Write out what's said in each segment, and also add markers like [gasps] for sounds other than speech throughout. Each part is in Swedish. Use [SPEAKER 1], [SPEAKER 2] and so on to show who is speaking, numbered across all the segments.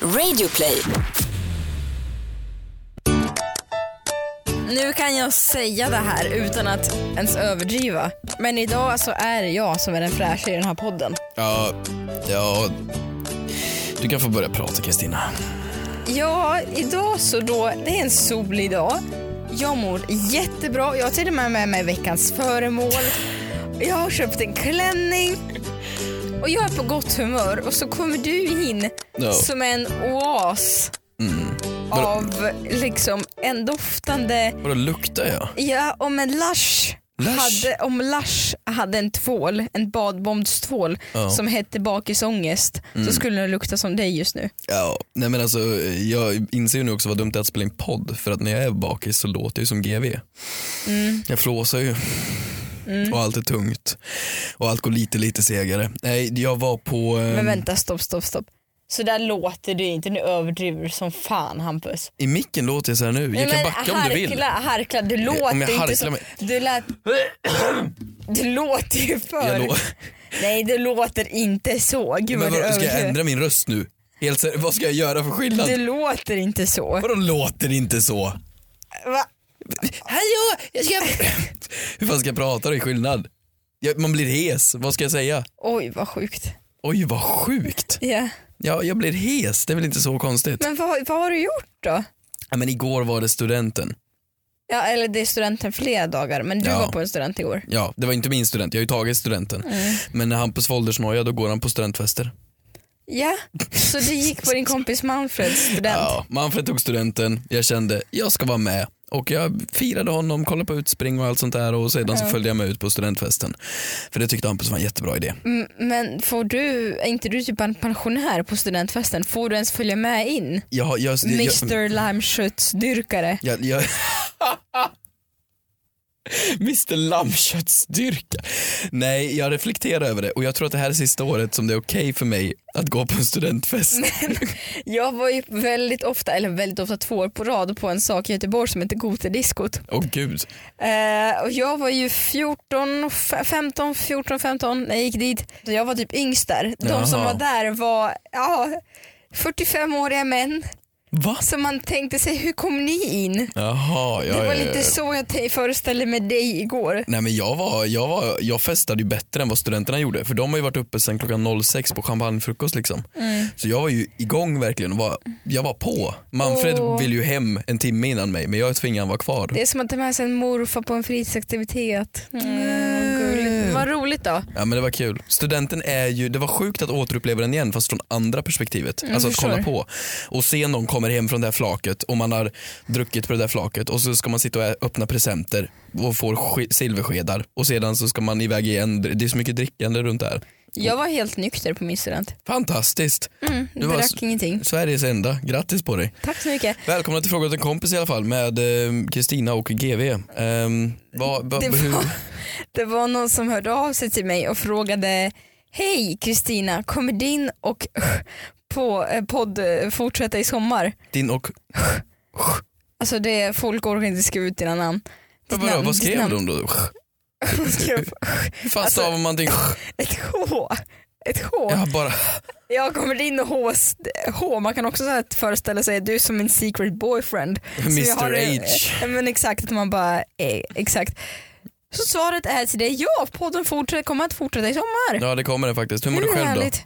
[SPEAKER 1] Radioplay.
[SPEAKER 2] Nu kan jag säga det här utan att ens överdriva. Men idag så är det jag som är den fräscha i den här podden.
[SPEAKER 3] Ja, ja. Du kan få börja prata Kristina.
[SPEAKER 2] Ja, idag så då, det är en solig dag. Jag mår jättebra. Jag har till och med med mig veckans föremål. Jag har köpt en klänning. Och jag är på gott humör och så kommer du in
[SPEAKER 3] Ja.
[SPEAKER 2] som en oas av liksom en doftande
[SPEAKER 3] Vadå luktar jag?
[SPEAKER 2] Ja, om en Lush,
[SPEAKER 3] Lush?
[SPEAKER 2] Hade, om Lush hade en tvål, en badbombstvål
[SPEAKER 3] Ja. Mm.
[SPEAKER 2] som hette bakisångest så skulle den lukta som dig just nu.
[SPEAKER 3] Ja, nej men alltså jag inser ju nu också vad dumt det är att spela in podd för att när jag är bakis så låter jag ju som GV.
[SPEAKER 2] Mm.
[SPEAKER 3] Jag flåsar ju. Och allt är tungt. Och allt går lite lite segare. Nej, jag var på... eh,
[SPEAKER 2] Men vänta, stopp, stopp, stopp. Så där låter du inte, nu överdriver du som fan Hampus.
[SPEAKER 3] I micken låter jag så här nu. Jag kan
[SPEAKER 2] men
[SPEAKER 3] backa om du vill.
[SPEAKER 2] harkla, harkla, du låter
[SPEAKER 3] om jag
[SPEAKER 2] inte
[SPEAKER 3] harklar
[SPEAKER 2] som...
[SPEAKER 3] mig-
[SPEAKER 2] Du, lät,
[SPEAKER 3] [clears throat]
[SPEAKER 2] du låter ju för...
[SPEAKER 3] Jag lo-
[SPEAKER 2] Nej, du låter inte så. Gud
[SPEAKER 3] men
[SPEAKER 2] vad du
[SPEAKER 3] vad, ska jag
[SPEAKER 2] överdriver.
[SPEAKER 3] ändra min röst nu? Helt seriöst, vad ska jag göra för skillnad?
[SPEAKER 2] Du låter inte så.
[SPEAKER 3] Vadå låter inte så?
[SPEAKER 2] Va?
[SPEAKER 3] Hallå, jag ska... Hur fan ska jag prata då i skillnad? Jag, man blir hes, vad ska jag säga?
[SPEAKER 2] [clears throat] Oj, vad sjukt.
[SPEAKER 3] Oj vad sjukt.
[SPEAKER 2] Ja.
[SPEAKER 3] Ja, jag blir hes, det är väl inte så konstigt. Men,
[SPEAKER 2] Men vad, vad har du gjort då?
[SPEAKER 3] ja, men igår var det studenten.
[SPEAKER 2] Ja, eller det är studenten flera dagar, men du
[SPEAKER 3] Ja.
[SPEAKER 2] var på en student igår.
[SPEAKER 3] Ja, det var inte min student, jag har ju tagit studenten. Men när Hampus Folders noja, då går han på studentfester.
[SPEAKER 2] Ja, så du gick
[SPEAKER 3] [laughs]
[SPEAKER 2] på din kompis Manfreds student.
[SPEAKER 3] Ja, Manfred tog studenten, jag kände jag ska vara med. Och jag firade honom, kollade på utspring och allt sånt där och sedan så följde jag med ut på studentfesten. För det tyckte Hampus var en jättebra idé.
[SPEAKER 2] M- Men får du, är inte du typ en pensionär på studentfesten? Får du ens följa med in?
[SPEAKER 3] Jag, jag, jag, jag,
[SPEAKER 2] Mr Lammköttsdyrkare.
[SPEAKER 3] Jag, jag...
[SPEAKER 2] [laughs]
[SPEAKER 3] Mr Lammköttsdyrka. Nej, jag reflekterar över det och jag tror att det här är sista året som det är okej för mig att gå på en studentfest.
[SPEAKER 2] Jag var ju väldigt ofta, eller väldigt ofta två år på rad på en sak i Göteborg som heter Gotediskot.
[SPEAKER 3] Åh gud.
[SPEAKER 2] Eh, och jag var ju 14, och f- 15, 14, 15 när jag gick dit. Så jag var typ yngst där. De som
[SPEAKER 3] Jaha.
[SPEAKER 2] var där var ja, 45-åriga män.
[SPEAKER 3] Va?
[SPEAKER 2] Så man tänkte sig, hur kom ni in?
[SPEAKER 3] Jaha, ja,
[SPEAKER 2] Det var
[SPEAKER 3] ja, ja,
[SPEAKER 2] lite
[SPEAKER 3] ja.
[SPEAKER 2] så jag te- föreställde mig dig igår.
[SPEAKER 3] Nej men jag var, jag var, jag festade ju bättre än vad studenterna gjorde för de har ju varit uppe sen klockan 06 på champagnefrukost liksom.
[SPEAKER 2] Mm.
[SPEAKER 3] Så jag var ju igång verkligen och var, jag var på. Manfred
[SPEAKER 2] Åh.
[SPEAKER 3] ville ju hem en timme innan mig men jag tvingade han vara kvar.
[SPEAKER 2] Det är som att ta med sig en morfar på en fritidsaktivitet. Mm, gulligt. Vad roligt då.
[SPEAKER 3] Ja men det var kul. Studenten är ju, det var sjukt att återuppleva den igen fast från andra perspektivet. alltså att
[SPEAKER 2] Mm, förstår.
[SPEAKER 3] kolla på och se någon kommer hem från det här flaket och man har druckit på det där flaket och så ska man sitta och ä- öppna presenter och får sk- silverskedar och sedan så ska man iväg igen. Det är så mycket drickande runt där.
[SPEAKER 2] Jag var helt nykter på min student.
[SPEAKER 3] Fantastiskt.
[SPEAKER 2] Mm,
[SPEAKER 3] Du var
[SPEAKER 2] drack
[SPEAKER 3] s-
[SPEAKER 2] ingenting.
[SPEAKER 3] Sveriges enda, grattis på dig.
[SPEAKER 2] Tack så mycket.
[SPEAKER 3] Välkomna till Fråga åt en kompis i alla fall med eh, Kristina och GV. Ehm, vad, vad,
[SPEAKER 2] Det
[SPEAKER 3] hur,
[SPEAKER 2] var, det var någon som hörde av sig till mig och frågade Hej Kristina, kommer din och [laughs] på eh, podd eh, fortsätta i sommar?
[SPEAKER 3] din och,
[SPEAKER 2] Alltså det, folk orkar inte skriva ut dina namn. Ditt
[SPEAKER 3] vadå,
[SPEAKER 2] namn,
[SPEAKER 3] vad
[SPEAKER 2] ditt
[SPEAKER 3] skrev
[SPEAKER 2] namn.
[SPEAKER 3] de då?
[SPEAKER 2] Hon [laughs] skrev
[SPEAKER 3] Hur fan
[SPEAKER 2] Alltså-
[SPEAKER 3] stavar man till
[SPEAKER 2] ett H. Ett H.
[SPEAKER 3] Jag bara
[SPEAKER 2] Jag kommer in och H, H. Man kan också så här föreställa sig att du är som min secret boyfriend. Så jag har
[SPEAKER 3] Mr
[SPEAKER 2] en-
[SPEAKER 3] H.
[SPEAKER 2] Ja, Men exakt, att man bara, eh, exakt. Så svaret är till dig, ja podden fortsätter, kommer att fortsätta i sommar.
[SPEAKER 3] [laughs] Ja det kommer det faktiskt. Hur mår
[SPEAKER 2] Hur
[SPEAKER 3] du själv då?
[SPEAKER 2] härligt.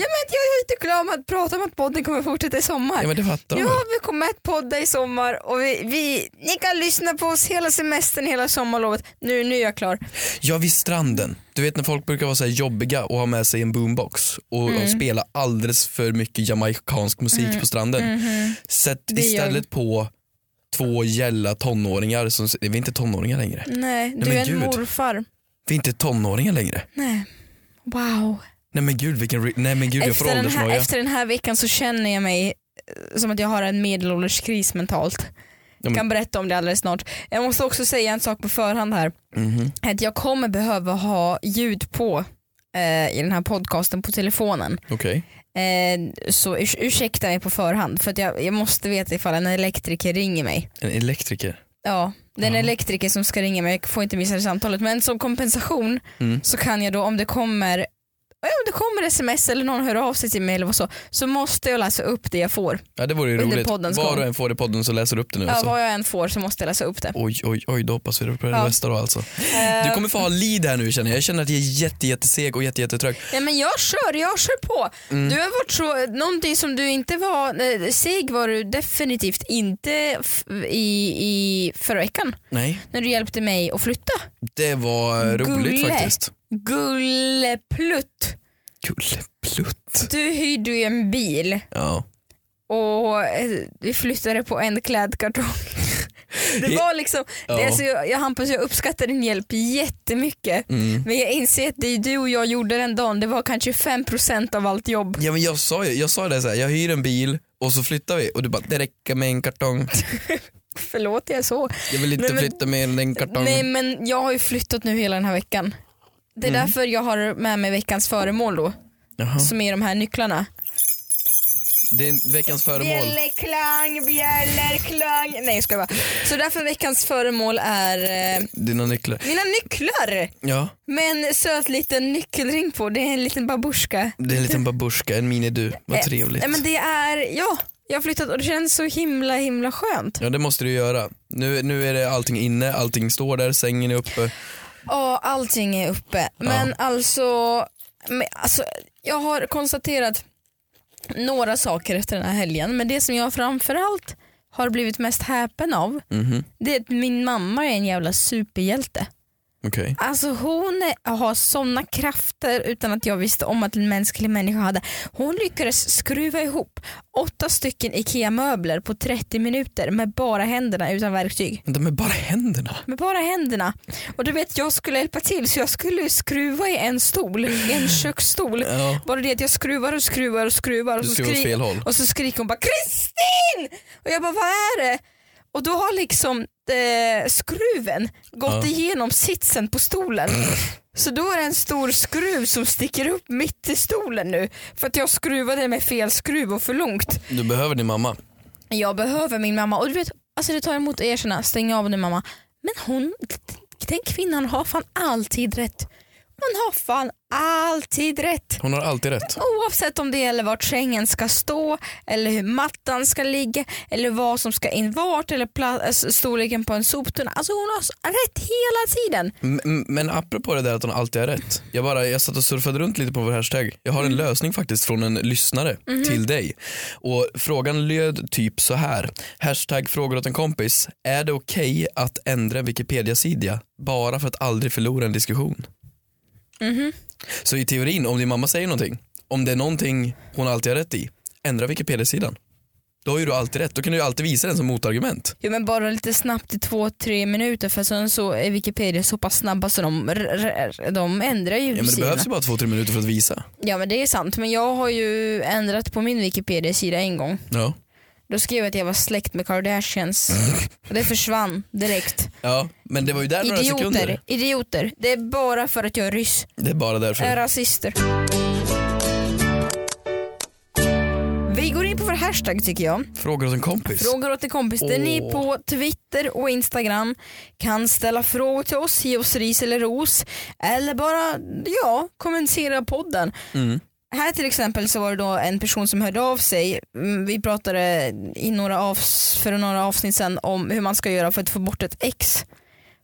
[SPEAKER 2] Ja men jag är inte glad med att prata om att podden kommer fortsätta i sommar.
[SPEAKER 3] Ja men det fattar de
[SPEAKER 2] Ja,
[SPEAKER 3] väl.
[SPEAKER 2] vi kommer att podda i sommar och vi, vi, ni kan lyssna på oss hela semestern, hela sommarlovet. Nu, nu är jag klar.
[SPEAKER 3] Ja vid stranden. Du vet när folk brukar vara så här jobbiga och ha med sig en boombox och
[SPEAKER 2] Mm.
[SPEAKER 3] spela alldeles för mycket jamaicansk musik på stranden. Sätt
[SPEAKER 2] Mm. Det gör-
[SPEAKER 3] istället på två gälla tonåringar, som, vi är inte tonåringar längre.
[SPEAKER 2] Nej, du
[SPEAKER 3] men
[SPEAKER 2] är en
[SPEAKER 3] gud.
[SPEAKER 2] morfar.
[SPEAKER 3] Vi är inte tonåringar längre.
[SPEAKER 2] Nej. Wow.
[SPEAKER 3] Nej men gud vilken, re- nej men gud jag får
[SPEAKER 2] Efter den, här,
[SPEAKER 3] åldersnoja.
[SPEAKER 2] efter den här veckan så känner jag mig eh, som att jag har en medelålderskris mentalt. Jag
[SPEAKER 3] men-
[SPEAKER 2] kan berätta om det alldeles snart. Jag måste också säga en sak på förhand här.
[SPEAKER 3] Mhm.
[SPEAKER 2] Att jag kommer behöva ha ljud på eh, i den här podcasten på telefonen.
[SPEAKER 3] Okej.
[SPEAKER 2] Eh, så urs- ursäkta mig på förhand för att jag, jag måste veta ifall en elektriker ringer mig.
[SPEAKER 3] En elektriker.
[SPEAKER 2] Ja, den elektriker
[SPEAKER 3] Mm.
[SPEAKER 2] som ska ringa mig, jag får inte missa det samtalet. Men som kompensation så kan jag då om det kommer ja, om det kommer sms eller någon hör av sig till mig eller vad så, så måste jag läsa upp det jag får.
[SPEAKER 3] Ja, det vore ju
[SPEAKER 2] Under
[SPEAKER 3] roligt.
[SPEAKER 2] poddens
[SPEAKER 3] Var
[SPEAKER 2] gång.
[SPEAKER 3] och en får i podden så läser du upp det nu.
[SPEAKER 2] Ja,
[SPEAKER 3] alltså.
[SPEAKER 2] vad jag än får så måste jag läsa upp det.
[SPEAKER 3] Oj, oj, oj, då hoppas vi det på det
[SPEAKER 2] Ja.
[SPEAKER 3] bästa då alltså. Du kommer få ha lead här nu känner jag. Jag känner att jag är jätte, jätteseg och jätte, jättetrög.
[SPEAKER 2] Ja, men jag kör, jag kör på. Du har varit så, någonting som du inte var, eh, seg var du definitivt inte f- i, i förra veckan
[SPEAKER 3] Nej,
[SPEAKER 2] när du hjälpte mig att flytta.
[SPEAKER 3] det var roligt
[SPEAKER 2] Gulle.
[SPEAKER 3] faktiskt.
[SPEAKER 2] Gulleplutt,
[SPEAKER 3] Gulleplutt.
[SPEAKER 2] du hyrde ju en bil
[SPEAKER 3] Ja.
[SPEAKER 2] och eh, vi flyttade på en klädkartong. Det var liksom, det,
[SPEAKER 3] Ja.
[SPEAKER 2] alltså, jag, jag, Hampus jag uppskattar din hjälp jättemycket.
[SPEAKER 3] Mm.
[SPEAKER 2] Men jag inser att det du och jag gjorde den dagen, det var kanske 5% av allt jobb.
[SPEAKER 3] Ja men jag sa ju, jag sa det så här, jag hyr en bil och så flyttar vi och du bara det räcker med en kartong.
[SPEAKER 2] Förlåt jag är så.
[SPEAKER 3] Jag vill inte
[SPEAKER 2] Nej, men-
[SPEAKER 3] flytta mer än en kartong.
[SPEAKER 2] Nej men jag har ju flyttat nu hela den här veckan. Det är därför jag har med mig veckans föremål då,
[SPEAKER 3] Jaha.
[SPEAKER 2] som är de här nycklarna.
[SPEAKER 3] Det är veckans föremål.
[SPEAKER 2] Bjällerklang, bjällerklang. Nej jag skojar bara. Så därför veckans föremål är eh,
[SPEAKER 3] Dina nycklar.
[SPEAKER 2] mina nycklar
[SPEAKER 3] Ja,
[SPEAKER 2] med en söt liten nyckelring på. Det är en liten babusjka.
[SPEAKER 3] det är en liten babusjka, en mini-du. Vad
[SPEAKER 2] Eh,
[SPEAKER 3] trevligt.
[SPEAKER 2] Nej, men det är, ja, jag har flyttat och det känns så himla himla skönt.
[SPEAKER 3] Ja det måste du göra. Nu, nu är det allting inne, allting står där, sängen är uppe.
[SPEAKER 2] Ja, allting är uppe. Men alltså, men alltså, jag har konstaterat några saker efter den här helgen. Men det som jag framförallt har blivit mest häpen av,
[SPEAKER 3] Mhm,
[SPEAKER 2] det är att min mamma är en jävla superhjälte.
[SPEAKER 3] Okej.
[SPEAKER 2] Alltså hon är- har sådana krafter utan att jag visste om att en mänsklig människa hade. Hon lyckades skruva ihop åtta stycken IKEA-möbler på 30 minuter med bara händerna utan verktyg.
[SPEAKER 3] Vänta men bara händerna.
[SPEAKER 2] Med bara händerna. Och du vet jag skulle hjälpa till så jag skulle skruva i en stol, i
[SPEAKER 3] Mm.
[SPEAKER 2] en köksstol.
[SPEAKER 3] Ja.
[SPEAKER 2] Bara det att jag skruvar och skruvar och skruvar och
[SPEAKER 3] Du
[SPEAKER 2] så,
[SPEAKER 3] skruvar åt
[SPEAKER 2] skri-
[SPEAKER 3] fel håll.
[SPEAKER 2] och så skriker hon bara Kristin! Och jag bara vad är det? Och då har liksom eh, skruven gått
[SPEAKER 3] Ja.
[SPEAKER 2] igenom sitsen på stolen. Så då är det en stor skruv som sticker upp mitt i stolen nu för att jag skruvade med fel skruv och för långt.
[SPEAKER 3] Du behöver din mamma.
[SPEAKER 2] Jag behöver min mamma och du vet, alltså det tar emot att erkänna, stäng av nu mamma. Men hon, den kvinnan har fan alltid rätt. Hon har fan alltid rätt.
[SPEAKER 3] Hon har alltid rätt.
[SPEAKER 2] Oavsett om det gäller vart sängen ska stå eller hur mattan ska ligga eller vad som ska in vart eller pla- alltså, storleken på en soptunna. Alltså hon har s- rätt hela tiden.
[SPEAKER 3] M- m- men apropå det där att hon alltid har rätt. Jag, bara, jag satt och surfade runt lite på vår hashtag. Jag har en lösning faktiskt från en lyssnare till dig. Och Frågan löd typ så här. Hashtag frågor åt en kompis. Är det okej att ändra en Wikipedia-sida bara för att aldrig förlora en diskussion? Mhm. Så i teorin, om din mamma säger någonting, om det är någonting hon alltid har rätt i, ändra Wikipedia-sidan. Då har ju du alltid rätt. Då kan du ju alltid visa den som motargument.
[SPEAKER 2] Jo men bara lite snabbt i två, tre minuter för sen så är Wikipedia så pass snabba så de, r- r- de ändrar ju
[SPEAKER 3] Ja, men det
[SPEAKER 2] sidorna.
[SPEAKER 3] behövs ju bara två, tre minuter för att visa.
[SPEAKER 2] Ja men det är sant men jag har ju ändrat på min Wikipedia-sida en gång.
[SPEAKER 3] Ja.
[SPEAKER 2] Då skrev jag att jag var släkt med Kardashians och det försvann
[SPEAKER 3] [laughs]
[SPEAKER 2] direkt.
[SPEAKER 3] Ja, men det var ju där några
[SPEAKER 2] Idioter,
[SPEAKER 3] sekunder.
[SPEAKER 2] idioter. Det är bara för att jag är ryss.
[SPEAKER 3] Det är bara därför.
[SPEAKER 2] är rasister. Vi går in på vår hashtag tycker jag.
[SPEAKER 3] Frågor åt en kompis.
[SPEAKER 2] Frågor åt en kompis. Där ni
[SPEAKER 3] Åh.
[SPEAKER 2] på Twitter och Instagram kan ställa frågor till oss, ge oss ris eller ros. Eller bara ja, kommentera podden.
[SPEAKER 3] Mm.
[SPEAKER 2] Här till exempel så var det då en person som hörde av sig. Mm, Vi pratade i några avs- för några avsnitt sedan om hur man ska göra för att få bort ett ex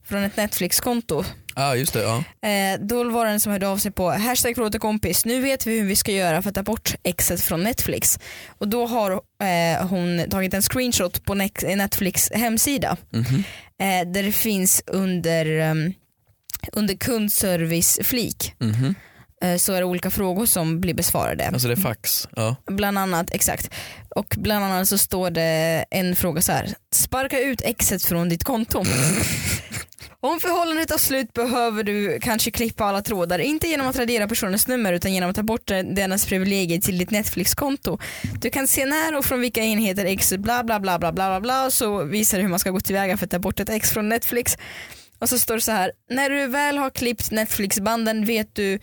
[SPEAKER 2] från ett Netflix-konto.
[SPEAKER 3] ah, just det. Ja.
[SPEAKER 2] Eh, då var det en som hörde av sig på hashtag förlåt och kompis. Nu vet vi hur vi ska göra för att ta bort exet från Netflix. Och då har eh, hon tagit en screenshot på Nex- eh, Netflix hemsida.
[SPEAKER 3] Mhm.
[SPEAKER 2] Eh, där det finns under, ehm, under kundservice-flik.
[SPEAKER 3] Mhm.
[SPEAKER 2] Eh, så är det olika frågor som blir besvarade.
[SPEAKER 3] Alltså det är fax. Ja.
[SPEAKER 2] Bland annat, exakt. Och bland annat så står det en fråga så här. Sparka ut exet från ditt konto. Om förhållandet tar slut behöver du kanske klippa alla trådar. Inte genom att radera personens nummer utan genom att ta bort dennes privilegier till ditt Netflix-konto. Du kan se när och från vilka enheter exet bla bla bla bla bla bla bla. Och så visar det hur man ska gå tillväga för att ta bort ett ex från Netflix. Och så står det så här. När du väl har klippt Netflix-banden vet du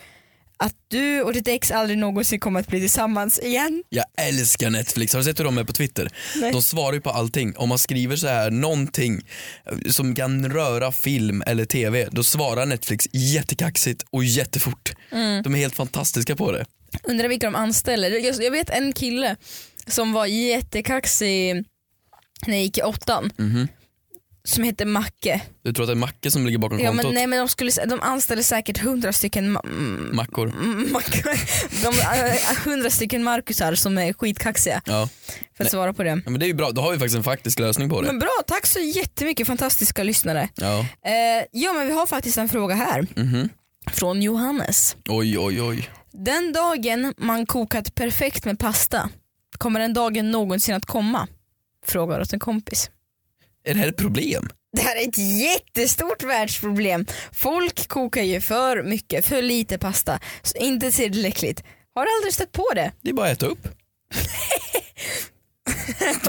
[SPEAKER 2] att du och ditt ex aldrig någonsin kommer att bli tillsammans igen.
[SPEAKER 3] Jag älskar Netflix, har du sett hur de är på Twitter?
[SPEAKER 2] Nej.
[SPEAKER 3] De svarar ju på allting. Om man skriver så här någonting eh, som kan röra film eller tv, då svarar Netflix jättekaxigt och jättefort.
[SPEAKER 2] Mm.
[SPEAKER 3] De är helt fantastiska på det.
[SPEAKER 2] Undrar vilka de anställer. Jag, jag vet en kille som var jättekaxig när jag gick i åttan. Som hette Macke.
[SPEAKER 3] Mhm. Du tror att det är Macke som ligger bakom
[SPEAKER 2] Ja,
[SPEAKER 3] kontot?
[SPEAKER 2] men, nej, men de, skulle, sä- de anställde säkert hundra stycken ma- mm,
[SPEAKER 3] Mackor?
[SPEAKER 2] mm, Macke. [laughs] De, äh, hundra stycken Marcusar som är skitkaxiga
[SPEAKER 3] Ja.
[SPEAKER 2] för att svara på det.
[SPEAKER 3] ja, men det är ju bra. Då har vi faktiskt en faktisk lösning på det.
[SPEAKER 2] Men bra, tack så jättemycket fantastiska lyssnare.
[SPEAKER 3] Ja.
[SPEAKER 2] Eh, ja men vi har faktiskt en fråga här
[SPEAKER 3] Mhm.
[SPEAKER 2] från Johannes.
[SPEAKER 3] Oj, oj, oj.
[SPEAKER 2] Den dagen man kokat perfekt med pasta, kommer den dagen någonsin att komma? Frågar åt en kompis.
[SPEAKER 3] Är det här ett problem?
[SPEAKER 2] Det här är ett jättestort världsproblem. Folk kokar ju för mycket, för lite pasta, så inte tillräckligt. Har aldrig stött på det.
[SPEAKER 3] Det är bara att äta upp.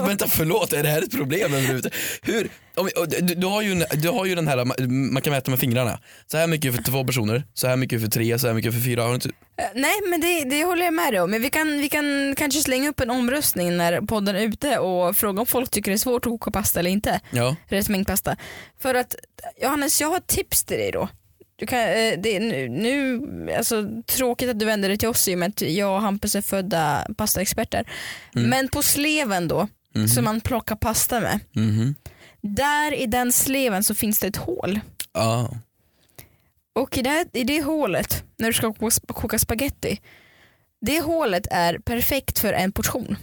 [SPEAKER 3] Vänta förlåt, är det här ett problem överhuvudtaget? Hur? Om, du, du, har ju, en- du har ju den här, ma- man kan mäta med fingrarna. Så här mycket för två personer, så här mycket för tre, så här mycket för fyra. Har du inte,
[SPEAKER 2] Eh, Nej men det, det håller jag med dig om. Men vi kan, vi kan kanske slänga upp en omröstning när podden är ute och fråga om folk tycker det är svårt att koka pasta eller inte.
[SPEAKER 3] ja.
[SPEAKER 2] rätt mängd pasta. För att Johannes, jag har ett tips till dig då. Du kan, eh, det är nu, nu, alltså, tråkigt att du vänder dig till oss i och med att jag och Hampus är födda pastaexperter. Men på sleven då, som man plockar pasta med.
[SPEAKER 3] Mhm.
[SPEAKER 2] Där i den sleven så finns det ett hål.
[SPEAKER 3] Ah.
[SPEAKER 2] Och i det, i det hålet, när du ska koka, koka spaghetti, det hålet är perfekt för en portion.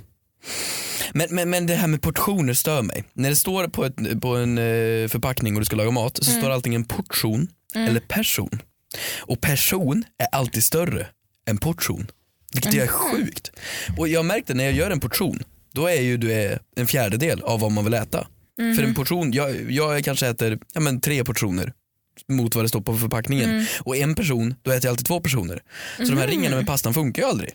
[SPEAKER 3] Men, men, men det här med portioner stör mig. När det står på, ett, på en eh, förpackning och du ska laga mat så står det alltid en portion eller person. Och person är alltid större än portion. Vilket är sjukt. Och jag märkte när jag gör en portion, då är ju du är en fjärdedel av vad man vill äta. För en portion, jag, jag kanske äter ja, men tre portioner mot vad det står på förpackningen. Och en person, då äter jag alltid två personer. Så de här ringarna med pastan funkar ju aldrig.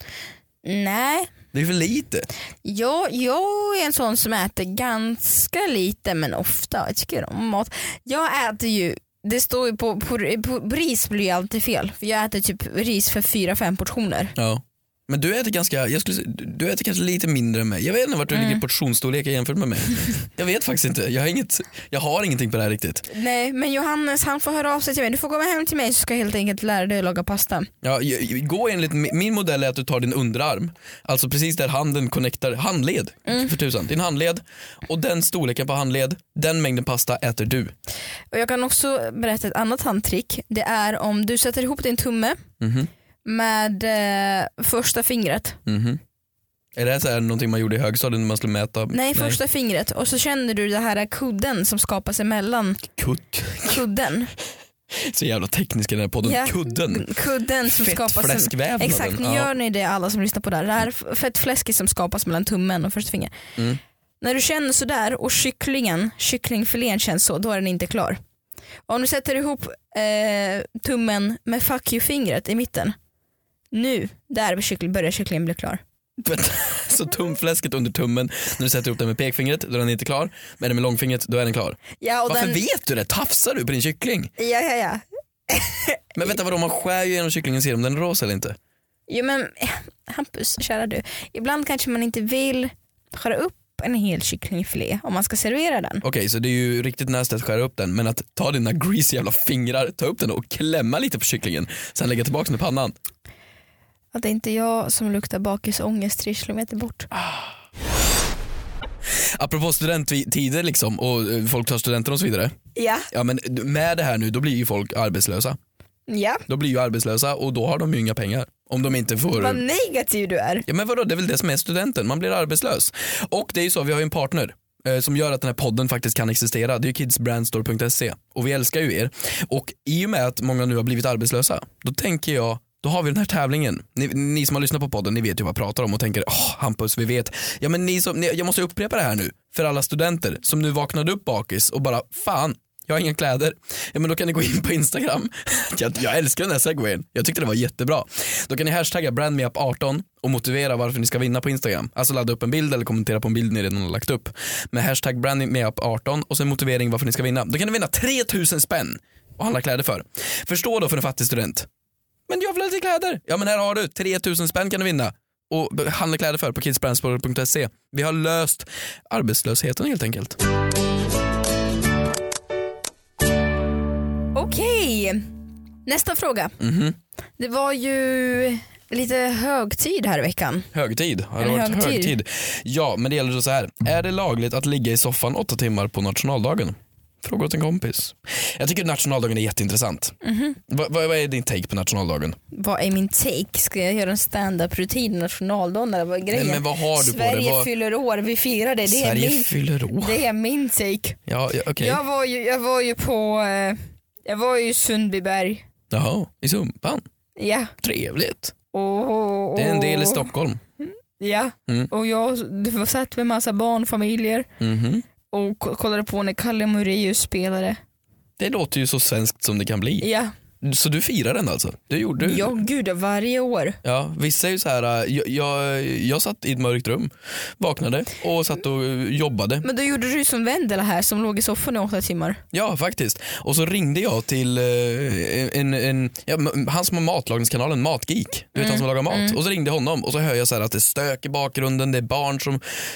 [SPEAKER 2] Nej,
[SPEAKER 3] Det är för lite.
[SPEAKER 2] Jag, jag är en sån som äter ganska lite men ofta. Jag tycker om mat. Jag äter ju, det står ju på, på, på, på ris blir ju alltid fel. För jag äter typ ris för fyra fem portioner.
[SPEAKER 3] Ja. Men du äter ganska, jag skulle, säga- du- du äter kanske lite mindre än mig. Jag vet inte vart du
[SPEAKER 2] Mm.
[SPEAKER 3] ligger i portionsstorlek jämfört med mig. jag vet faktiskt inte, jag har, inget, jag har ingenting på det här riktigt.
[SPEAKER 2] Nej men Johannes han får höra av sig till mig. Du får komma hem till mig så ska jag helt enkelt lära dig att laga pasta.
[SPEAKER 3] Ja, jag- jag- gå enligt, mi- min modell är att du tar din underarm, alltså precis där handen connectar, handled
[SPEAKER 2] Mm.
[SPEAKER 3] för tusan, din handled och den storleken på handled, den mängden pasta äter du.
[SPEAKER 2] Och jag kan också berätta ett annat handtrick. Det är om du sätter ihop din tumme
[SPEAKER 3] Mhm.
[SPEAKER 2] med eh, första fingret.
[SPEAKER 3] Mhm. Är det här så här någonting man gjorde i högstadiet när man skulle mäta?
[SPEAKER 2] Nej, första fingret. Och så känner du det här kudden som skapas emellan
[SPEAKER 3] Kutt.
[SPEAKER 2] kudden.
[SPEAKER 3] Så jävla teknisk i den här podden,
[SPEAKER 2] Ja.
[SPEAKER 3] kudden.
[SPEAKER 2] Kudden som skapas
[SPEAKER 3] Fettfläskvävnaden.
[SPEAKER 2] Exakt, nu
[SPEAKER 3] Ja.
[SPEAKER 2] gör ni det alla som lyssnar på det här. Det här är fettfläsket som skapas mellan tummen och första fingret.
[SPEAKER 3] Mm.
[SPEAKER 2] När du känner sådär och kycklingen, kycklingfilén känns så, då är den inte klar. Om du sätter ihop eh, tummen med fuck you-fingret i mitten. Nu, där kyckling, börjar kycklingen bli klar.
[SPEAKER 3] Vänta, [laughs] Så tumfläsket under tummen, när du sätter upp den med pekfingret då är den inte klar, men är den med långfingret då är den klar.
[SPEAKER 2] Ja, och
[SPEAKER 3] Varför
[SPEAKER 2] den,
[SPEAKER 3] vet du det? Tafsar du på din kyckling?
[SPEAKER 2] ja, ja, ja.
[SPEAKER 3] Men vänta vadå man skär ju genom kycklingen och ser om den är rosa eller inte.
[SPEAKER 2] Jo men eh, Hampus, kära du. Ibland kanske man inte vill skära upp en hel kycklingfilé om man ska servera den.
[SPEAKER 3] Okej så det är ju riktigt nasty att skära upp den men att ta dina greasy jävla fingrar, ta upp den och klämma lite på kycklingen, sen lägga tillbaka den i pannan.
[SPEAKER 2] Att det är inte jag som luktar bakisångest tre kilometer bort.
[SPEAKER 3] Ah. Apropå studenttider liksom och eh, folk tar studenten och så vidare.
[SPEAKER 2] Ja.
[SPEAKER 3] Ja men d- med det här nu då blir ju folk arbetslösa.
[SPEAKER 2] Ja.
[SPEAKER 3] Då blir ju arbetslösa och då har de ju inga pengar. Om de inte får
[SPEAKER 2] Vad negativ du är.
[SPEAKER 3] Ja men vadå, det är väl det som är studenten, man blir arbetslös. Och det är ju så, vi har ju en partner eh, som gör att den här podden faktiskt kan existera. Det är ju kidsbrandstore.se och vi älskar ju er. Och i och med att många nu har blivit arbetslösa, då tänker jag då har vi den här tävlingen. Ni, ni som har lyssnat på podden, ni vet ju vad jag pratar om och tänker åh Hampus, vi vet. Ja men ni som, ni, jag måste upprepa det här nu för alla studenter som nu vaknade upp bakis och bara fan, jag har inga kläder. Ja, men då kan ni gå in på Instagram. [laughs] Jag, jag älskar den här segwayen. Jag tyckte det var jättebra. Då kan ni hashtagga brandmeup18 och motivera varför ni ska vinna på Instagram. Alltså ladda upp en bild eller kommentera på en bild ni redan har lagt upp. Med hashtag brandmeup18 och sen motivering varför ni ska vinna. Då kan ni vinna 3000 spänn att handla kläder för. Förstå då för en fattig student men jag vill ha lite kläder. Ja men här har du, 3000 spänn kan du vinna. Och b- handla kläder för på kidsbrandspår.se. Vi har löst arbetslösheten helt enkelt.
[SPEAKER 2] Okej, nästa fråga.
[SPEAKER 3] Mhm.
[SPEAKER 2] Det var ju lite högtid här i veckan.
[SPEAKER 3] Högtid. Har det
[SPEAKER 2] Är det
[SPEAKER 3] varit högtid?
[SPEAKER 2] högtid?
[SPEAKER 3] Ja, men det gäller då så här. Är det lagligt att ligga i soffan åtta timmar på nationaldagen? Fråga åt en kompis. Jag tycker nationaldagen är jätteintressant.
[SPEAKER 2] Mhm.
[SPEAKER 3] Va- va- vad är din take på nationaldagen?
[SPEAKER 2] Vad är min take? Ska jag göra en standup-rutin nationaldagen eller vad är grejen?
[SPEAKER 3] Nej, men vad har du på det?
[SPEAKER 2] Sverige
[SPEAKER 3] Vad-
[SPEAKER 2] fyller år, vi firar det. Det är,
[SPEAKER 3] Sverige
[SPEAKER 2] min,
[SPEAKER 3] fyller år.
[SPEAKER 2] det är min take.
[SPEAKER 3] Ja, ja, okej.
[SPEAKER 2] Jag, var ju, jag var ju på eh, jag var ju i Sundbyberg.
[SPEAKER 3] Jaha, i Sumpan.
[SPEAKER 2] Ja.
[SPEAKER 3] Trevligt.
[SPEAKER 2] Och, och,
[SPEAKER 3] Det är en del i Stockholm.
[SPEAKER 2] Ja.
[SPEAKER 3] Mm.
[SPEAKER 2] Och jag det var satt med massa barnfamiljer
[SPEAKER 3] Mhm.
[SPEAKER 2] och k- kollade på när Kalle Moraeus spelade.
[SPEAKER 3] Det låter ju så svenskt som det kan bli.
[SPEAKER 2] Ja.
[SPEAKER 3] Så du firar den alltså? Du gjorde
[SPEAKER 2] Ja gud, varje år.
[SPEAKER 3] Ja, vissa är ju så här, äh, jag, jag, jag satt i ett mörkt rum, vaknade och satt och äh, jobbade.
[SPEAKER 2] Men då gjorde du som Vendela här som låg i soffan i åtta timmar.
[SPEAKER 3] Ja, faktiskt. Och så ringde jag till eh, en, en, ja, m- han som har matlagningskanalen Matgeek. Du vet
[SPEAKER 2] Mm.
[SPEAKER 3] han som lagar mat. Och så ringde jag honom och så hör jag så här att det är stök i bakgrunden, det är barn som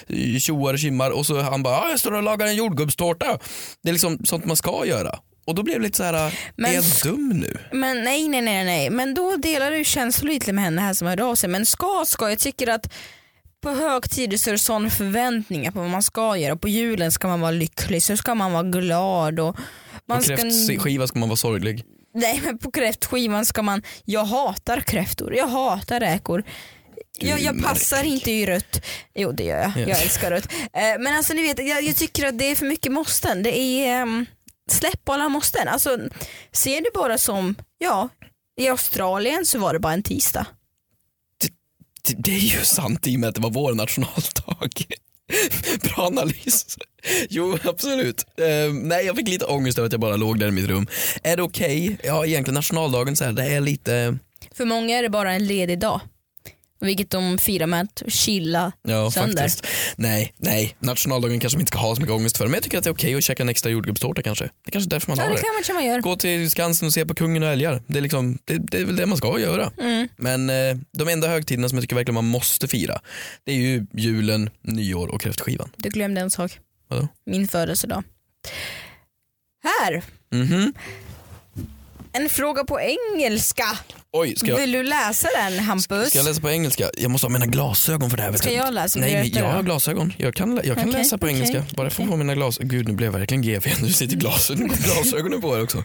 [SPEAKER 3] eh, tjoar och kimmar och så han bara, "Ah, jag står och lagar en jordgubbstårta. Det är liksom sånt man ska göra. Och då blev det lite så här, eh,
[SPEAKER 2] Men-
[SPEAKER 3] är jag dum nu?
[SPEAKER 2] Men nej, nej, nej, nej. Men då delar du känslor lite med henne här som hörde av sig. Men ska, ska. Jag tycker att på högtider så är det sån förväntningar på vad man ska göra. På julen ska man vara lycklig, så ska man vara glad och man
[SPEAKER 3] På
[SPEAKER 2] ska...
[SPEAKER 3] kräftskiva ska man vara sorglig.
[SPEAKER 2] Nej men på kräftskivan ska man, jag hatar kräftor, jag hatar räkor.
[SPEAKER 3] är
[SPEAKER 2] Jag, jag
[SPEAKER 3] märklig.
[SPEAKER 2] passar inte i rött. Jo det gör jag,
[SPEAKER 3] Ja.
[SPEAKER 2] jag älskar rött. Eh, Men alltså ni vet, jag, jag tycker att det är för mycket måsten. Det är, ehm, släpp alla måsten. Alltså, ser det bara som, ja, i Australien så var det bara en tisdag.
[SPEAKER 3] Det, det är ju sant i och med att det var vår nationaldag. [laughs] Bra analys. Jo, absolut. Eh, nej, jag fick lite ångest över att jag bara låg där i mitt rum. Är det okej? Ja, egentligen nationaldagen så här, det är lite...
[SPEAKER 2] För många är det bara en ledig dag. Vilket de firar med att chilla
[SPEAKER 3] Ja,
[SPEAKER 2] sönder.
[SPEAKER 3] faktiskt. Nej, nej. Nationaldagen kanske man inte ska ha så mycket ångest för. Men jag tycker att det är okej att käka en extra jordgubbstårta kanske. Det är kanske är därför man
[SPEAKER 2] Ja,
[SPEAKER 3] har
[SPEAKER 2] det
[SPEAKER 3] det.
[SPEAKER 2] kan man kanske man gör.
[SPEAKER 3] Gå till Skansen och se på kungen och älgar. Det är, liksom, det, det är väl det man ska göra.
[SPEAKER 2] Mm.
[SPEAKER 3] Men eh, de enda högtiderna som jag tycker verkligen man måste fira, det är ju julen, nyår och kräftskivan.
[SPEAKER 2] Du glömde en sak.
[SPEAKER 3] Vadå?
[SPEAKER 2] Min födelsedag. Här,
[SPEAKER 3] Mhm.
[SPEAKER 2] en fråga på engelska.
[SPEAKER 3] Oj, ska jag,
[SPEAKER 2] Vill du läsa den Hampus?
[SPEAKER 3] ska jag läsa på engelska? Jag måste ha mina glasögon för det här. vet
[SPEAKER 2] Ska
[SPEAKER 3] du.
[SPEAKER 2] jag läsa?
[SPEAKER 3] Nej,
[SPEAKER 2] Vill du
[SPEAKER 3] nej,
[SPEAKER 2] veta
[SPEAKER 3] jag
[SPEAKER 2] det?
[SPEAKER 3] har glasögon. Jag kan, lä- jag kan
[SPEAKER 2] Okej,
[SPEAKER 3] läsa på
[SPEAKER 2] okej,
[SPEAKER 3] engelska. Bara jag får på mina glasögon. Gud, nu blev jag verkligen GV. Nu sitter glasögon, glasögonen på här också.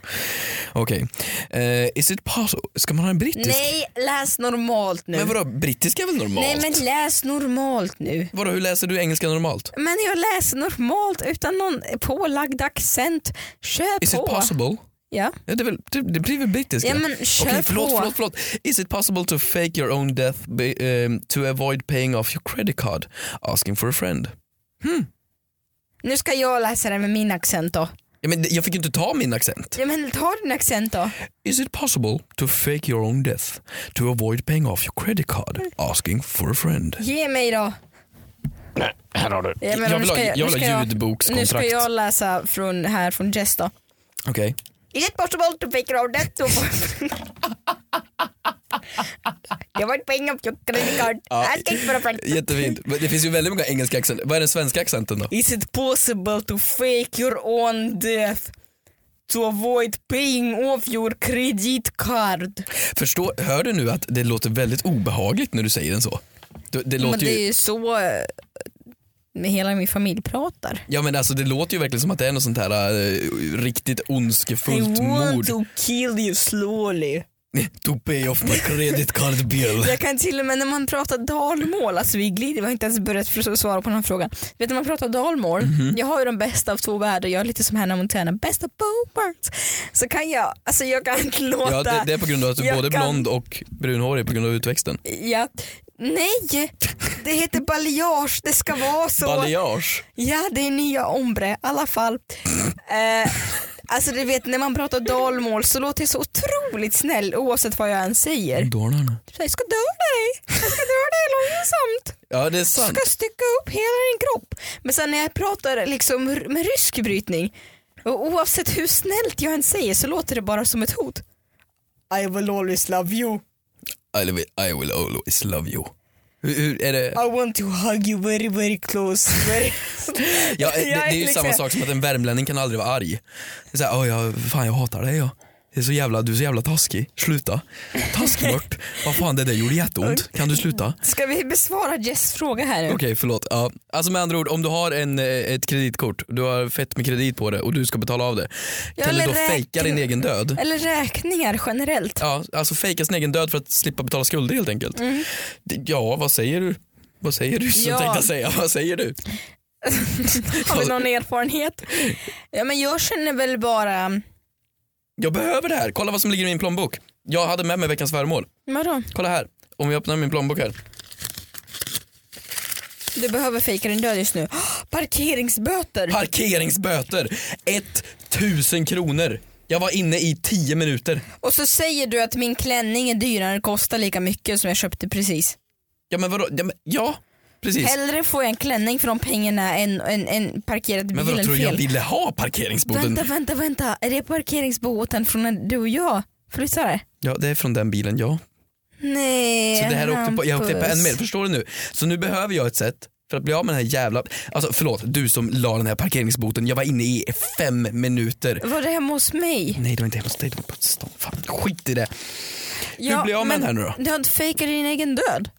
[SPEAKER 3] Okej. Eh, is it possible? Ska man ha en brittisk?
[SPEAKER 2] Nej, läs normalt nu.
[SPEAKER 3] Men vadå, brittiska är väl normalt?
[SPEAKER 2] Nej men läs normalt nu.
[SPEAKER 3] Vadå, hur läser du engelska normalt?
[SPEAKER 2] Men jag läser normalt utan någon pålagd accent. Kör
[SPEAKER 3] Is it
[SPEAKER 2] på.
[SPEAKER 3] possible?
[SPEAKER 2] Ja.
[SPEAKER 3] Ja, det, är väl, det, det blir väl brittiska?
[SPEAKER 2] ja men kör
[SPEAKER 3] Okej, förlåt,
[SPEAKER 2] på.
[SPEAKER 3] förlåt, förlåt. Is it possible to fake your own death by, ehm, to avoid paying off your credit card? Asking for a friend.
[SPEAKER 2] Nu ska jag läsa den med min accent då.
[SPEAKER 3] Ja, men det- jag fick ju inte ta min accent.
[SPEAKER 2] Ja, men ta din accent då.
[SPEAKER 3] Is it possible to fake your own death to avoid paying off your credit card? Asking for a friend.
[SPEAKER 2] Ge mig då.
[SPEAKER 3] Här har du.
[SPEAKER 2] Ja, men
[SPEAKER 3] jag
[SPEAKER 2] nu
[SPEAKER 3] vill ha,
[SPEAKER 2] ska
[SPEAKER 3] jag,
[SPEAKER 2] nu
[SPEAKER 3] vill
[SPEAKER 2] ska
[SPEAKER 3] ha
[SPEAKER 2] jag- Nu
[SPEAKER 3] ljudbokskontrakt.
[SPEAKER 2] ska jag läsa från, här från Jess då.
[SPEAKER 3] Okej.
[SPEAKER 2] Is it possible to figure out that to Jag var paying up your credit card.
[SPEAKER 3] Ja.
[SPEAKER 2] Asking for a friend.
[SPEAKER 3] [laughs] Jättefint. Men det finns ju väldigt många engelska accenter. Vad är den svenska accenten då?
[SPEAKER 2] Is it possible to fake your own death? To avoid paying off your credit card.
[SPEAKER 3] Förstå, hör du nu att det låter väldigt obehagligt när du säger den så? Det, det låter
[SPEAKER 2] Men det
[SPEAKER 3] ju,
[SPEAKER 2] är ju så eh, med hela min familj pratar.
[SPEAKER 3] ja, men alltså, det låter ju verkligen som att det är något sånt här eh, riktigt ondskefullt
[SPEAKER 2] I want
[SPEAKER 3] mord.
[SPEAKER 2] to kill you slowly.
[SPEAKER 3] [laughs] To pay off my credit card bill.
[SPEAKER 2] Jag kan till och med när man pratar dalmål, alltså vi glider, vi har inte ens börjat för- svara på den här frågan. Vet du när man pratar dalmål,
[SPEAKER 3] Mhm.
[SPEAKER 2] jag har ju de bästa av två världar, jag är lite som Hannah Montana, bästa bo worlds. Så kan jag, alltså [laughs] jag kan inte låta,
[SPEAKER 3] Ja, det, det är på grund av att du är
[SPEAKER 2] Jag
[SPEAKER 3] både
[SPEAKER 2] kan-
[SPEAKER 3] blond och brunhårig på grund av utväxten.
[SPEAKER 2] Ja. nej, det heter balayage, det ska vara så.
[SPEAKER 3] Balayage.
[SPEAKER 2] Ja, det är nya ombre i alla fall. Eh, alltså du vet när man pratar dalmål så låter jag så otroligt snäll oavsett vad jag än säger.
[SPEAKER 3] Dornarna.
[SPEAKER 2] Så jag ska döda dig, jag ska döda dig långsamt.
[SPEAKER 3] Ja det är
[SPEAKER 2] Du
[SPEAKER 3] sant.
[SPEAKER 2] ska stycka upp hela din kropp. Men sen när jag pratar liksom r- med rysk brytning, och oavsett hur snällt jag än säger så låter det bara som ett hot. I will always love you.
[SPEAKER 3] I will, I will always love you. Hur, hur är det?
[SPEAKER 2] I want to hug you very very close. Very... [laughs]
[SPEAKER 3] Ja, det, det är ju
[SPEAKER 2] liksom-
[SPEAKER 3] samma sak som att en värmlänning kan aldrig vara arg. Det är såhär, oh, jag, fan jag hatar dig jag. Det är så jävla, du är så jävla taskig, sluta.
[SPEAKER 2] [laughs]
[SPEAKER 3] Taskmört, vad fan det där gjorde jätteont, kan du sluta?
[SPEAKER 2] Ska vi besvara Jess fråga här nu?
[SPEAKER 3] Okej förlåt. Ja. Alltså med andra ord, om du har en, eh, ett kreditkort, du har fett med kredit på det och du ska betala av det.
[SPEAKER 2] Ja,
[SPEAKER 3] kan du
[SPEAKER 2] eller
[SPEAKER 3] då fejka
[SPEAKER 2] räkna-
[SPEAKER 3] din egen död?
[SPEAKER 2] Eller räkningar generellt.
[SPEAKER 3] Ja, alltså fejka sin egen död för att slippa betala skulder helt enkelt. Det- Ja, vad säger du? Vad säger du? Så
[SPEAKER 2] Mm. Ja.
[SPEAKER 3] tänkte jag säga, vad säger du?
[SPEAKER 2] [laughs] Har vi någon erfarenhet? Ja, men jag känner väl bara...
[SPEAKER 3] Jag behöver det här, kolla vad som ligger i min plånbok. Jag hade med mig veckans föremål.
[SPEAKER 2] Vadå?
[SPEAKER 3] Kolla här, om jag öppnar min plånbok här.
[SPEAKER 2] Du behöver fejka din död just nu. [gasps] Parkeringsböter!
[SPEAKER 3] Parkeringsböter, 1000 kronor. Jag var inne i 10 minuter.
[SPEAKER 2] och så säger du att min klänning är dyrare och kostar lika mycket som jag köpte precis.
[SPEAKER 3] Ja men vadå, ja, men, ja precis.
[SPEAKER 2] Hellre får jag en klänning för de pengarna än en, en parkerad bil
[SPEAKER 3] men vadå,
[SPEAKER 2] än
[SPEAKER 3] tror du jag
[SPEAKER 2] fel.
[SPEAKER 3] ville ha parkeringsboten?
[SPEAKER 2] Vänta, vänta, vänta. Är det parkeringsboten från när du och jag flyttade?
[SPEAKER 3] Ja det är från den bilen ja.
[SPEAKER 2] Nej,
[SPEAKER 3] Så det här åkte på, jag åkte på en
[SPEAKER 2] Hampus.
[SPEAKER 3] mer, förstår du nu? Så nu behöver jag ett sätt för att bli av med den här jävla, alltså förlåt du som la den här parkeringsboten, jag var inne i fem minuter.
[SPEAKER 2] Var det hemma hos mig?
[SPEAKER 3] Nej det var inte hemma hos dig, det var på stan. Fan, skit i det.
[SPEAKER 2] Ja,
[SPEAKER 3] blir jag av med
[SPEAKER 2] men
[SPEAKER 3] den här nu då?
[SPEAKER 2] Du har inte fejkat din egen
[SPEAKER 3] [laughs]
[SPEAKER 2] död.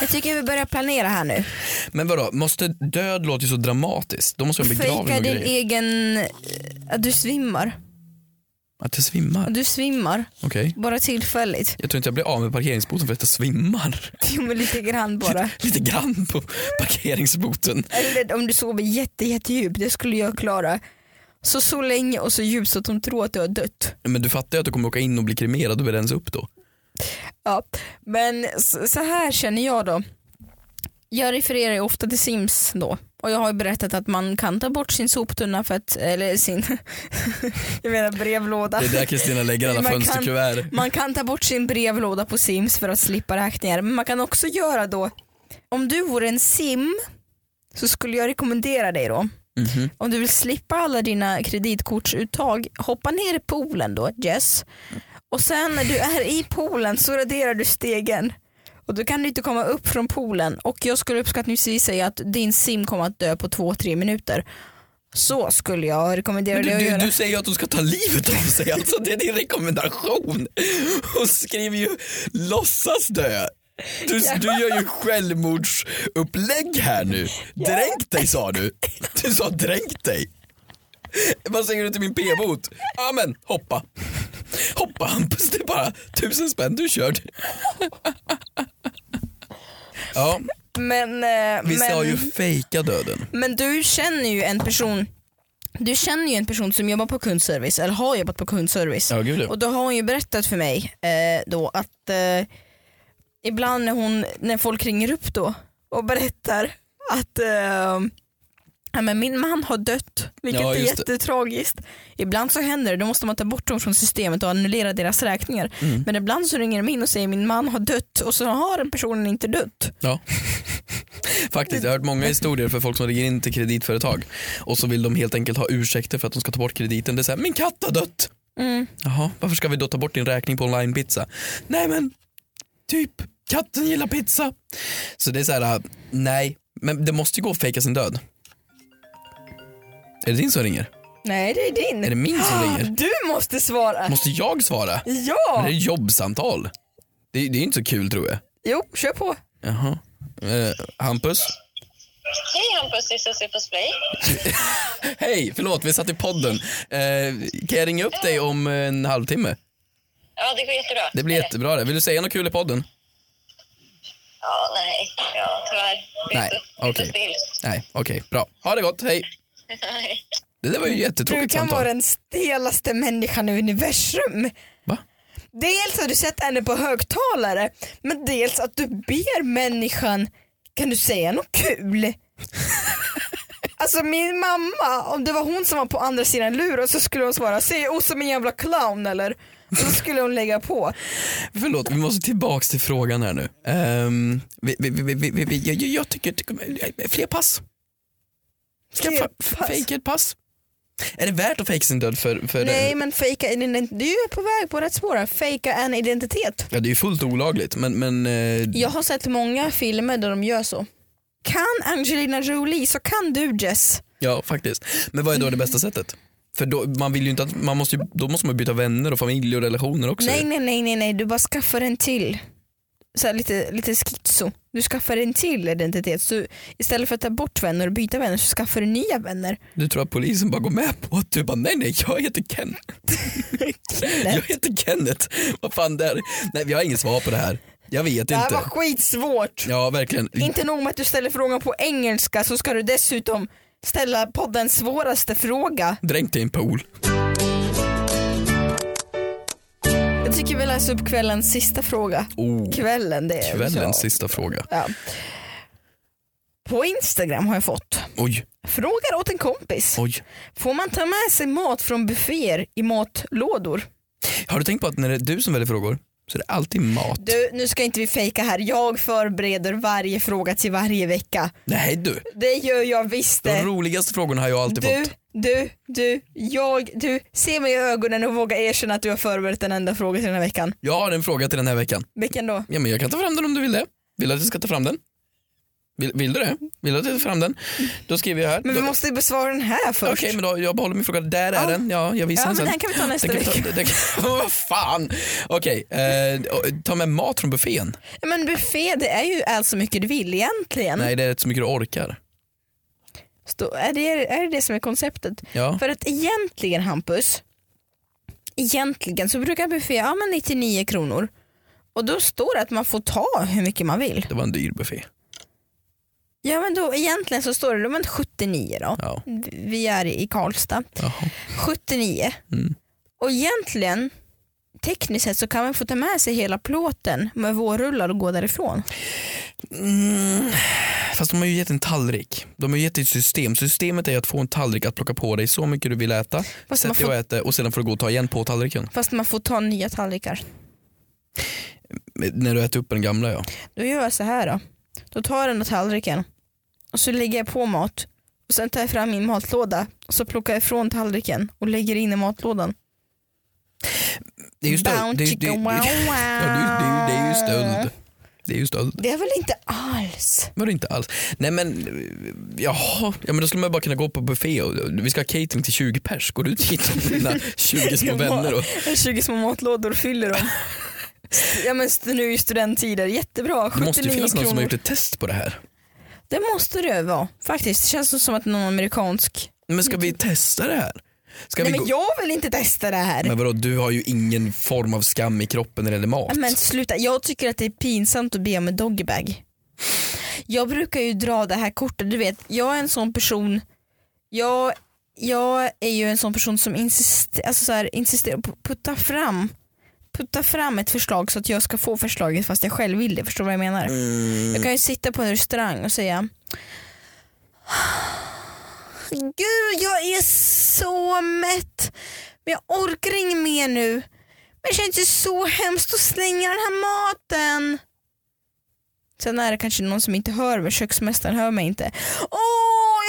[SPEAKER 2] jag tycker vi börjar planera här nu.
[SPEAKER 3] Men vadå, måste, död låter ju så dramatiskt. Då måste jag begrava
[SPEAKER 2] Fejka
[SPEAKER 3] några
[SPEAKER 2] din
[SPEAKER 3] grejer.
[SPEAKER 2] egen... eh, Att du svimmar.
[SPEAKER 3] Att jag svimmar,
[SPEAKER 2] Att du svimmar.
[SPEAKER 3] okej.
[SPEAKER 2] Bara tillfälligt.
[SPEAKER 3] Jag tror inte jag blir av med parkeringsboten för att jag svimmar. [laughs]
[SPEAKER 2] Jo men lite grann bara.
[SPEAKER 3] Lite grann på parkeringsboten.
[SPEAKER 2] Eller om du sover jätte, jätte djupt. Det skulle jag klara. Så så länge och så djupt så att de tror att du har dött.
[SPEAKER 3] Men du fattar ju att du kommer åka in och bli kremerad och rensa upp då.
[SPEAKER 2] Ja. Men så, så här känner jag då. Jag refererar ju ofta till Sims då. Och jag har ju berättat att man kan ta bort sin soptunna för att, eller sin, [laughs] jag menar brevlåda.
[SPEAKER 3] Det är där Kristina lägger alla
[SPEAKER 2] [laughs] Man kan-
[SPEAKER 3] fönsterkuvert.
[SPEAKER 2] Man kan ta bort sin brevlåda på Sims för att slippa räkningar. Men man kan också göra då, om du vore en Sim så skulle jag rekommendera dig då,
[SPEAKER 3] Mhm.
[SPEAKER 2] om du vill slippa alla dina kreditkortsuttag, hoppa ner i poolen då Jess. Och sen när du är i poolen så raderar du stegen. Och då kan du inte komma upp från poolen. Och jag skulle uppskattningsvis säga att din Sim kommer att dö på två-tre minuter. Så skulle jag rekommendera
[SPEAKER 3] Men
[SPEAKER 2] dig
[SPEAKER 3] Du,
[SPEAKER 2] att
[SPEAKER 3] du,
[SPEAKER 2] göra.
[SPEAKER 3] du säger ju att de ska ta livet av sig, alltså det är din rekommendation. Hon skriver ju låtsas dö. Du, du gör ju självmordsupplägg här nu. Dränk dig sa du. Du sa dränk dig. Vad säger du till min p-bot? Ja men hoppa. Hoppa Hampus, det är bara tusen spänn, du är körd. Ja,
[SPEAKER 2] Men, eh,
[SPEAKER 3] vi
[SPEAKER 2] men...
[SPEAKER 3] sa ju fejka döden.
[SPEAKER 2] Men du känner ju en person du känner ju en person som jobbar på kundservice, eller har jobbat på kundservice.
[SPEAKER 3] Ja, gud ja.
[SPEAKER 2] Och då har hon ju berättat för mig eh, då att eh, ibland när, hon, när folk ringer upp då och berättar att eh, ja, men min man har dött, vilket
[SPEAKER 3] Ja,
[SPEAKER 2] är
[SPEAKER 3] just det.
[SPEAKER 2] jättetragiskt. Ibland så händer det, då måste man ta bort dem från systemet och annulera deras räkningar.
[SPEAKER 3] Mm.
[SPEAKER 2] Men ibland så ringer de in och säger min man har dött och så har den personen inte dött.
[SPEAKER 3] Ja. [laughs] Faktiskt, jag har hört många historier för folk som ringer in till kreditföretag och så vill de helt enkelt ha ursäkter för att de ska ta bort krediten. Det är såhär, min katt har dött!
[SPEAKER 2] Mm.
[SPEAKER 3] Jaha, varför ska vi då ta bort din räkning på onlinepizza? Nej men, typ, katten gillar pizza. Så det är såhär, äh, nej, men det måste ju gå att fejka sin död. Är det din som ringer?
[SPEAKER 2] Nej det är din. Ah,
[SPEAKER 3] Är det min som ringer?
[SPEAKER 2] Du måste svara.
[SPEAKER 3] Måste jag svara? Men
[SPEAKER 2] Ja!
[SPEAKER 3] det är jobbsamtal. Det är, det är inte så kul tror jag.
[SPEAKER 2] Jo, kör på.
[SPEAKER 3] Jaha. Eh, Hampus?
[SPEAKER 1] Hej Hampus, det är Susie på Splay.
[SPEAKER 3] Hej, förlåt vi satt i podden. Eh, kan jag ringa upp dig om eh, en halvtimme?
[SPEAKER 1] Ja, det går jättebra.
[SPEAKER 3] Det blir jättebra det. Vill du säga något kul i podden?
[SPEAKER 1] Ja, nej. Ja, tyvärr. Det är
[SPEAKER 3] Nej,
[SPEAKER 1] så- det är så
[SPEAKER 3] okej.
[SPEAKER 1] still. [laughs]
[SPEAKER 3] Nej, okej, bra. Ha det gott, hej.
[SPEAKER 1] Nej.
[SPEAKER 3] Det där var ju
[SPEAKER 2] Du
[SPEAKER 3] jättetråkigt
[SPEAKER 2] kan
[SPEAKER 3] samtal.
[SPEAKER 2] vara den stelaste människan i universum.
[SPEAKER 3] Va?
[SPEAKER 2] Dels har du sett henne på högtalare, men dels att du ber människan, kan du säga något
[SPEAKER 3] [laughs]
[SPEAKER 2] kul? alltså min mamma, om det var hon som var på andra sidan luren så skulle hon svara, säg oh som en jävla clown eller? Och så skulle hon lägga på.
[SPEAKER 3] Förlåt, vi måste tillbaks till frågan här nu. Ehm, vi, vi, vi, vi, vi, vi, jag, jag tycker, tycker fler pass. Ska
[SPEAKER 2] Fler
[SPEAKER 3] jag fa-
[SPEAKER 2] pass?
[SPEAKER 3] fejka ett pass? Är det värt att fejka sin död för, för
[SPEAKER 2] Nej men fejka en ident- du är på väg på rätt spår här. Fejka en identitet.
[SPEAKER 3] Ja, det är ju fullt olagligt men, men eh,
[SPEAKER 2] Jag har sett många filmer där de gör så. Kan Angelina Jolie så kan du Jess.
[SPEAKER 3] ja faktiskt. Men vad är då
[SPEAKER 2] [laughs]
[SPEAKER 3] det bästa sättet? För då, man vill ju inte att, man måste ju, då måste man ju byta vänner och familj och relationer också.
[SPEAKER 2] Nej nej nej nej nej du bara skaffar en till. Så här, lite, lite schizo. Du skaffar en till identitet. Så istället för att ta bort vänner och byta vänner så skaffar du nya vänner.
[SPEAKER 3] Du tror att polisen bara går med på att du bara nej nej jag heter Ken. [laughs] jag heter Kenneth. Vad fan det är. Nej jag har inget svar på det här. Jag vet
[SPEAKER 2] Det här
[SPEAKER 3] inte.
[SPEAKER 2] var skitsvårt.
[SPEAKER 3] Ja verkligen.
[SPEAKER 2] Inte nog med att du ställer frågan på engelska så ska du dessutom ställa poddens svåraste fråga.
[SPEAKER 3] Dränkt i en pool.
[SPEAKER 2] Jag tycker vi läser upp kvällens sista fråga.
[SPEAKER 3] Oh,
[SPEAKER 2] Kvällen det är
[SPEAKER 3] kvällens
[SPEAKER 2] ja.
[SPEAKER 3] sista fråga.
[SPEAKER 2] Ja. På Instagram har jag fått.
[SPEAKER 3] Oj,
[SPEAKER 2] Frågar åt en kompis.
[SPEAKER 3] oj.
[SPEAKER 2] Får man ta med sig mat från bufféer i matlådor?
[SPEAKER 3] Har du tänkt på att när det är du som väljer frågor så är det alltid mat.
[SPEAKER 2] Du, nu ska inte vi fejka här. Jag förbereder varje fråga till varje vecka.
[SPEAKER 3] Nej du,
[SPEAKER 2] Det gör jag visst
[SPEAKER 3] de
[SPEAKER 2] det.
[SPEAKER 3] roligaste frågorna har jag alltid
[SPEAKER 2] Du,
[SPEAKER 3] fått.
[SPEAKER 2] du, du, jag, du. Se mig i ögonen och våga erkänna att du har förberett en enda fråga till den här veckan.
[SPEAKER 3] Jag har en fråga till den här veckan.
[SPEAKER 2] Vilken då?
[SPEAKER 3] Ja, men jag kan ta fram den om du vill det. Vill du att jag ska ta fram den? Vill, vill du det? Vill du att jag tar fram den? Då skriver jag här.
[SPEAKER 2] Men vi
[SPEAKER 3] Då-
[SPEAKER 2] måste ju besvara den här först.
[SPEAKER 3] Okej, men då, jag behåller min fråga. Där är
[SPEAKER 2] Ja.
[SPEAKER 3] den. Ja, jag visar
[SPEAKER 2] ja, men
[SPEAKER 3] den sen.
[SPEAKER 2] den kan vi ta nästa
[SPEAKER 3] Den kan
[SPEAKER 2] vecka.
[SPEAKER 3] ta, den kan, [laughs] vad fan! Okej, eh, ta med mat från buffén.
[SPEAKER 2] Ja, Men buffé, det är ju allt så mycket du vill egentligen.
[SPEAKER 3] Nej, det är rätt så mycket du orkar.
[SPEAKER 2] Stå, är, det, är det det som är konceptet?
[SPEAKER 3] Ja.
[SPEAKER 2] För att egentligen Hampus, egentligen så brukar buffé, ja men 99 kronor. Och då står det att man får ta hur mycket man vill.
[SPEAKER 3] Det var en dyr buffé.
[SPEAKER 2] Ja men då egentligen så står det, men 79 då.
[SPEAKER 3] Ja.
[SPEAKER 2] Vi är i Karlstad.
[SPEAKER 3] Jaha.
[SPEAKER 2] 79.
[SPEAKER 3] Mm.
[SPEAKER 2] Och egentligen, tekniskt sett så kan man få ta med sig hela plåten med vårrullar och gå därifrån.
[SPEAKER 3] Mm. Fast de har ju gett en tallrik. De har ju gett ett system. Systemet är att få en tallrik att plocka på dig så mycket du vill äta.
[SPEAKER 2] Fast
[SPEAKER 3] Sätt
[SPEAKER 2] man
[SPEAKER 3] dig och
[SPEAKER 2] får,
[SPEAKER 3] äta och sedan får du gå och ta igen på tallriken.
[SPEAKER 2] fast man får ta nya tallrikar.
[SPEAKER 3] Men När du äter upp den gamla ja.
[SPEAKER 2] Då gör jag så här då. Då tar jag den här tallriken och så lägger jag på mat. Och Sen tar jag fram min matlåda och så plockar jag ifrån tallriken och lägger in i matlådan.
[SPEAKER 3] Det är ju stöld. Det är, ju- det, är- det, är- [laughs] ja, det, är- det, är- det är ju
[SPEAKER 2] Ah.
[SPEAKER 3] stöld. Det är ju stöld.
[SPEAKER 2] Det är väl inte alls?
[SPEAKER 3] Var det inte alls. Nej men eh, jaha, ja, men då skulle man bara kunna gå på buffé och och vi ska ha catering till 20 pers. Går du dit med dina
[SPEAKER 2] [laughs]
[SPEAKER 3] 20 små vänner och
[SPEAKER 2] 20 små matlådor och fyller dem. Ja men st- nu är ju studenttider, jättebra.
[SPEAKER 3] det måste ju
[SPEAKER 2] 79
[SPEAKER 3] finnas någon som har
[SPEAKER 2] kronor.
[SPEAKER 3] gjort ett test på det här.
[SPEAKER 2] Det måste det vara faktiskt. Det känns som att någon amerikansk.
[SPEAKER 3] Men ska vi testa det här? Ska
[SPEAKER 2] Nej
[SPEAKER 3] vi gå-
[SPEAKER 2] men jag vill inte testa det här.
[SPEAKER 3] Men vadå, du har ju ingen form av skam i kroppen när det gäller mat.
[SPEAKER 2] Ja, Men sluta, jag tycker att det är pinsamt att be om en doggybag. Jag brukar ju dra det här kortet, du vet jag är en sån person, jag, jag är ju en sån person som insister, alltså så här, insisterar på att putta fram, putta fram ett förslag så att jag ska få förslaget fast jag själv vill det, förstår du vad jag menar? Jag kan ju sitta på en restaurang och säga Gud jag är så mätt men jag orkar inget mer nu. Men det känns ju så hemskt att slänga den här maten. Sen är det kanske någon som inte hör mig, köksmästaren hör mig inte. Åh,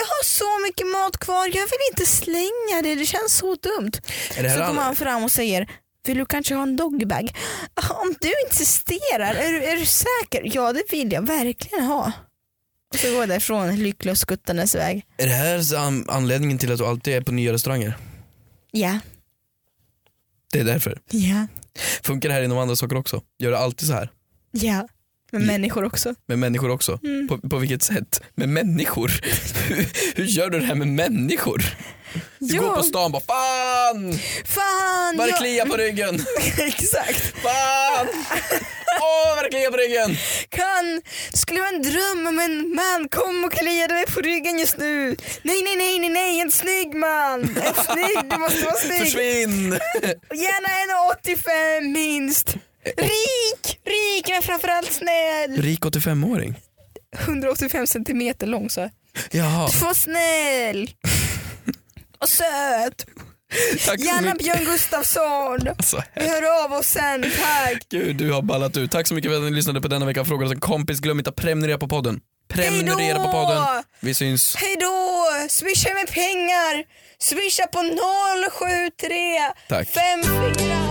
[SPEAKER 2] jag har så mycket mat kvar, jag vill inte slänga det, det känns så dumt.
[SPEAKER 3] är det här
[SPEAKER 2] Så kommer
[SPEAKER 3] all...
[SPEAKER 2] han fram och säger, vill du kanske ha en doggybag? [laughs] Om du insisterar, är, du- är du säker? Ja det vill jag verkligen ha. Och så går jag därifrån lycklig och skuttandes iväg.
[SPEAKER 3] Är det här så an- anledningen till att du alltid är på nya restauranger?
[SPEAKER 2] Ja,
[SPEAKER 3] Det är därför.
[SPEAKER 2] ja,
[SPEAKER 3] Funkar det här inom andra saker också? Gör det alltid så här?
[SPEAKER 2] ja. Med
[SPEAKER 3] Ja.
[SPEAKER 2] människor också.
[SPEAKER 3] Med människor också? På, på vilket sätt? Med människor? [laughs] hur, hur gör du det här med människor? Du går på stan och bara fan!
[SPEAKER 2] Fan!
[SPEAKER 3] Vad det
[SPEAKER 2] jag-
[SPEAKER 3] kliar på ryggen?
[SPEAKER 2] [laughs] Exakt.
[SPEAKER 3] Fan! Åh vad det kliar på ryggen!
[SPEAKER 2] Kan, det skulle vara en dröm om en man kom och kliade mig på ryggen just nu. Nej, nej, nej, nej, nej, en snygg man. En snygg, du måste vara snygg.
[SPEAKER 3] Försvinn!
[SPEAKER 2] Och Gärna en 85 minst. Rik, rik men framförallt snäll.
[SPEAKER 3] Rik 85-åring?
[SPEAKER 2] 185 centimeter lång så.
[SPEAKER 3] Jaha,
[SPEAKER 2] Du får vara snäll. Och söt.
[SPEAKER 3] tack så
[SPEAKER 2] Gärna
[SPEAKER 3] mycket.
[SPEAKER 2] Björn Gustafsson.
[SPEAKER 3] Alltså,
[SPEAKER 2] Vi hör av oss sen, tack.
[SPEAKER 3] Gud, du har ballat ut. Tack så mycket för att ni lyssnade på denna vecka. Frågar oss en kompis. Glöm inte att prenumerera på podden. Prenumerera på podden. Vi syns.
[SPEAKER 2] Hej då! eh, swisha med pengar. Swisha på 073
[SPEAKER 3] Tack.
[SPEAKER 2] 54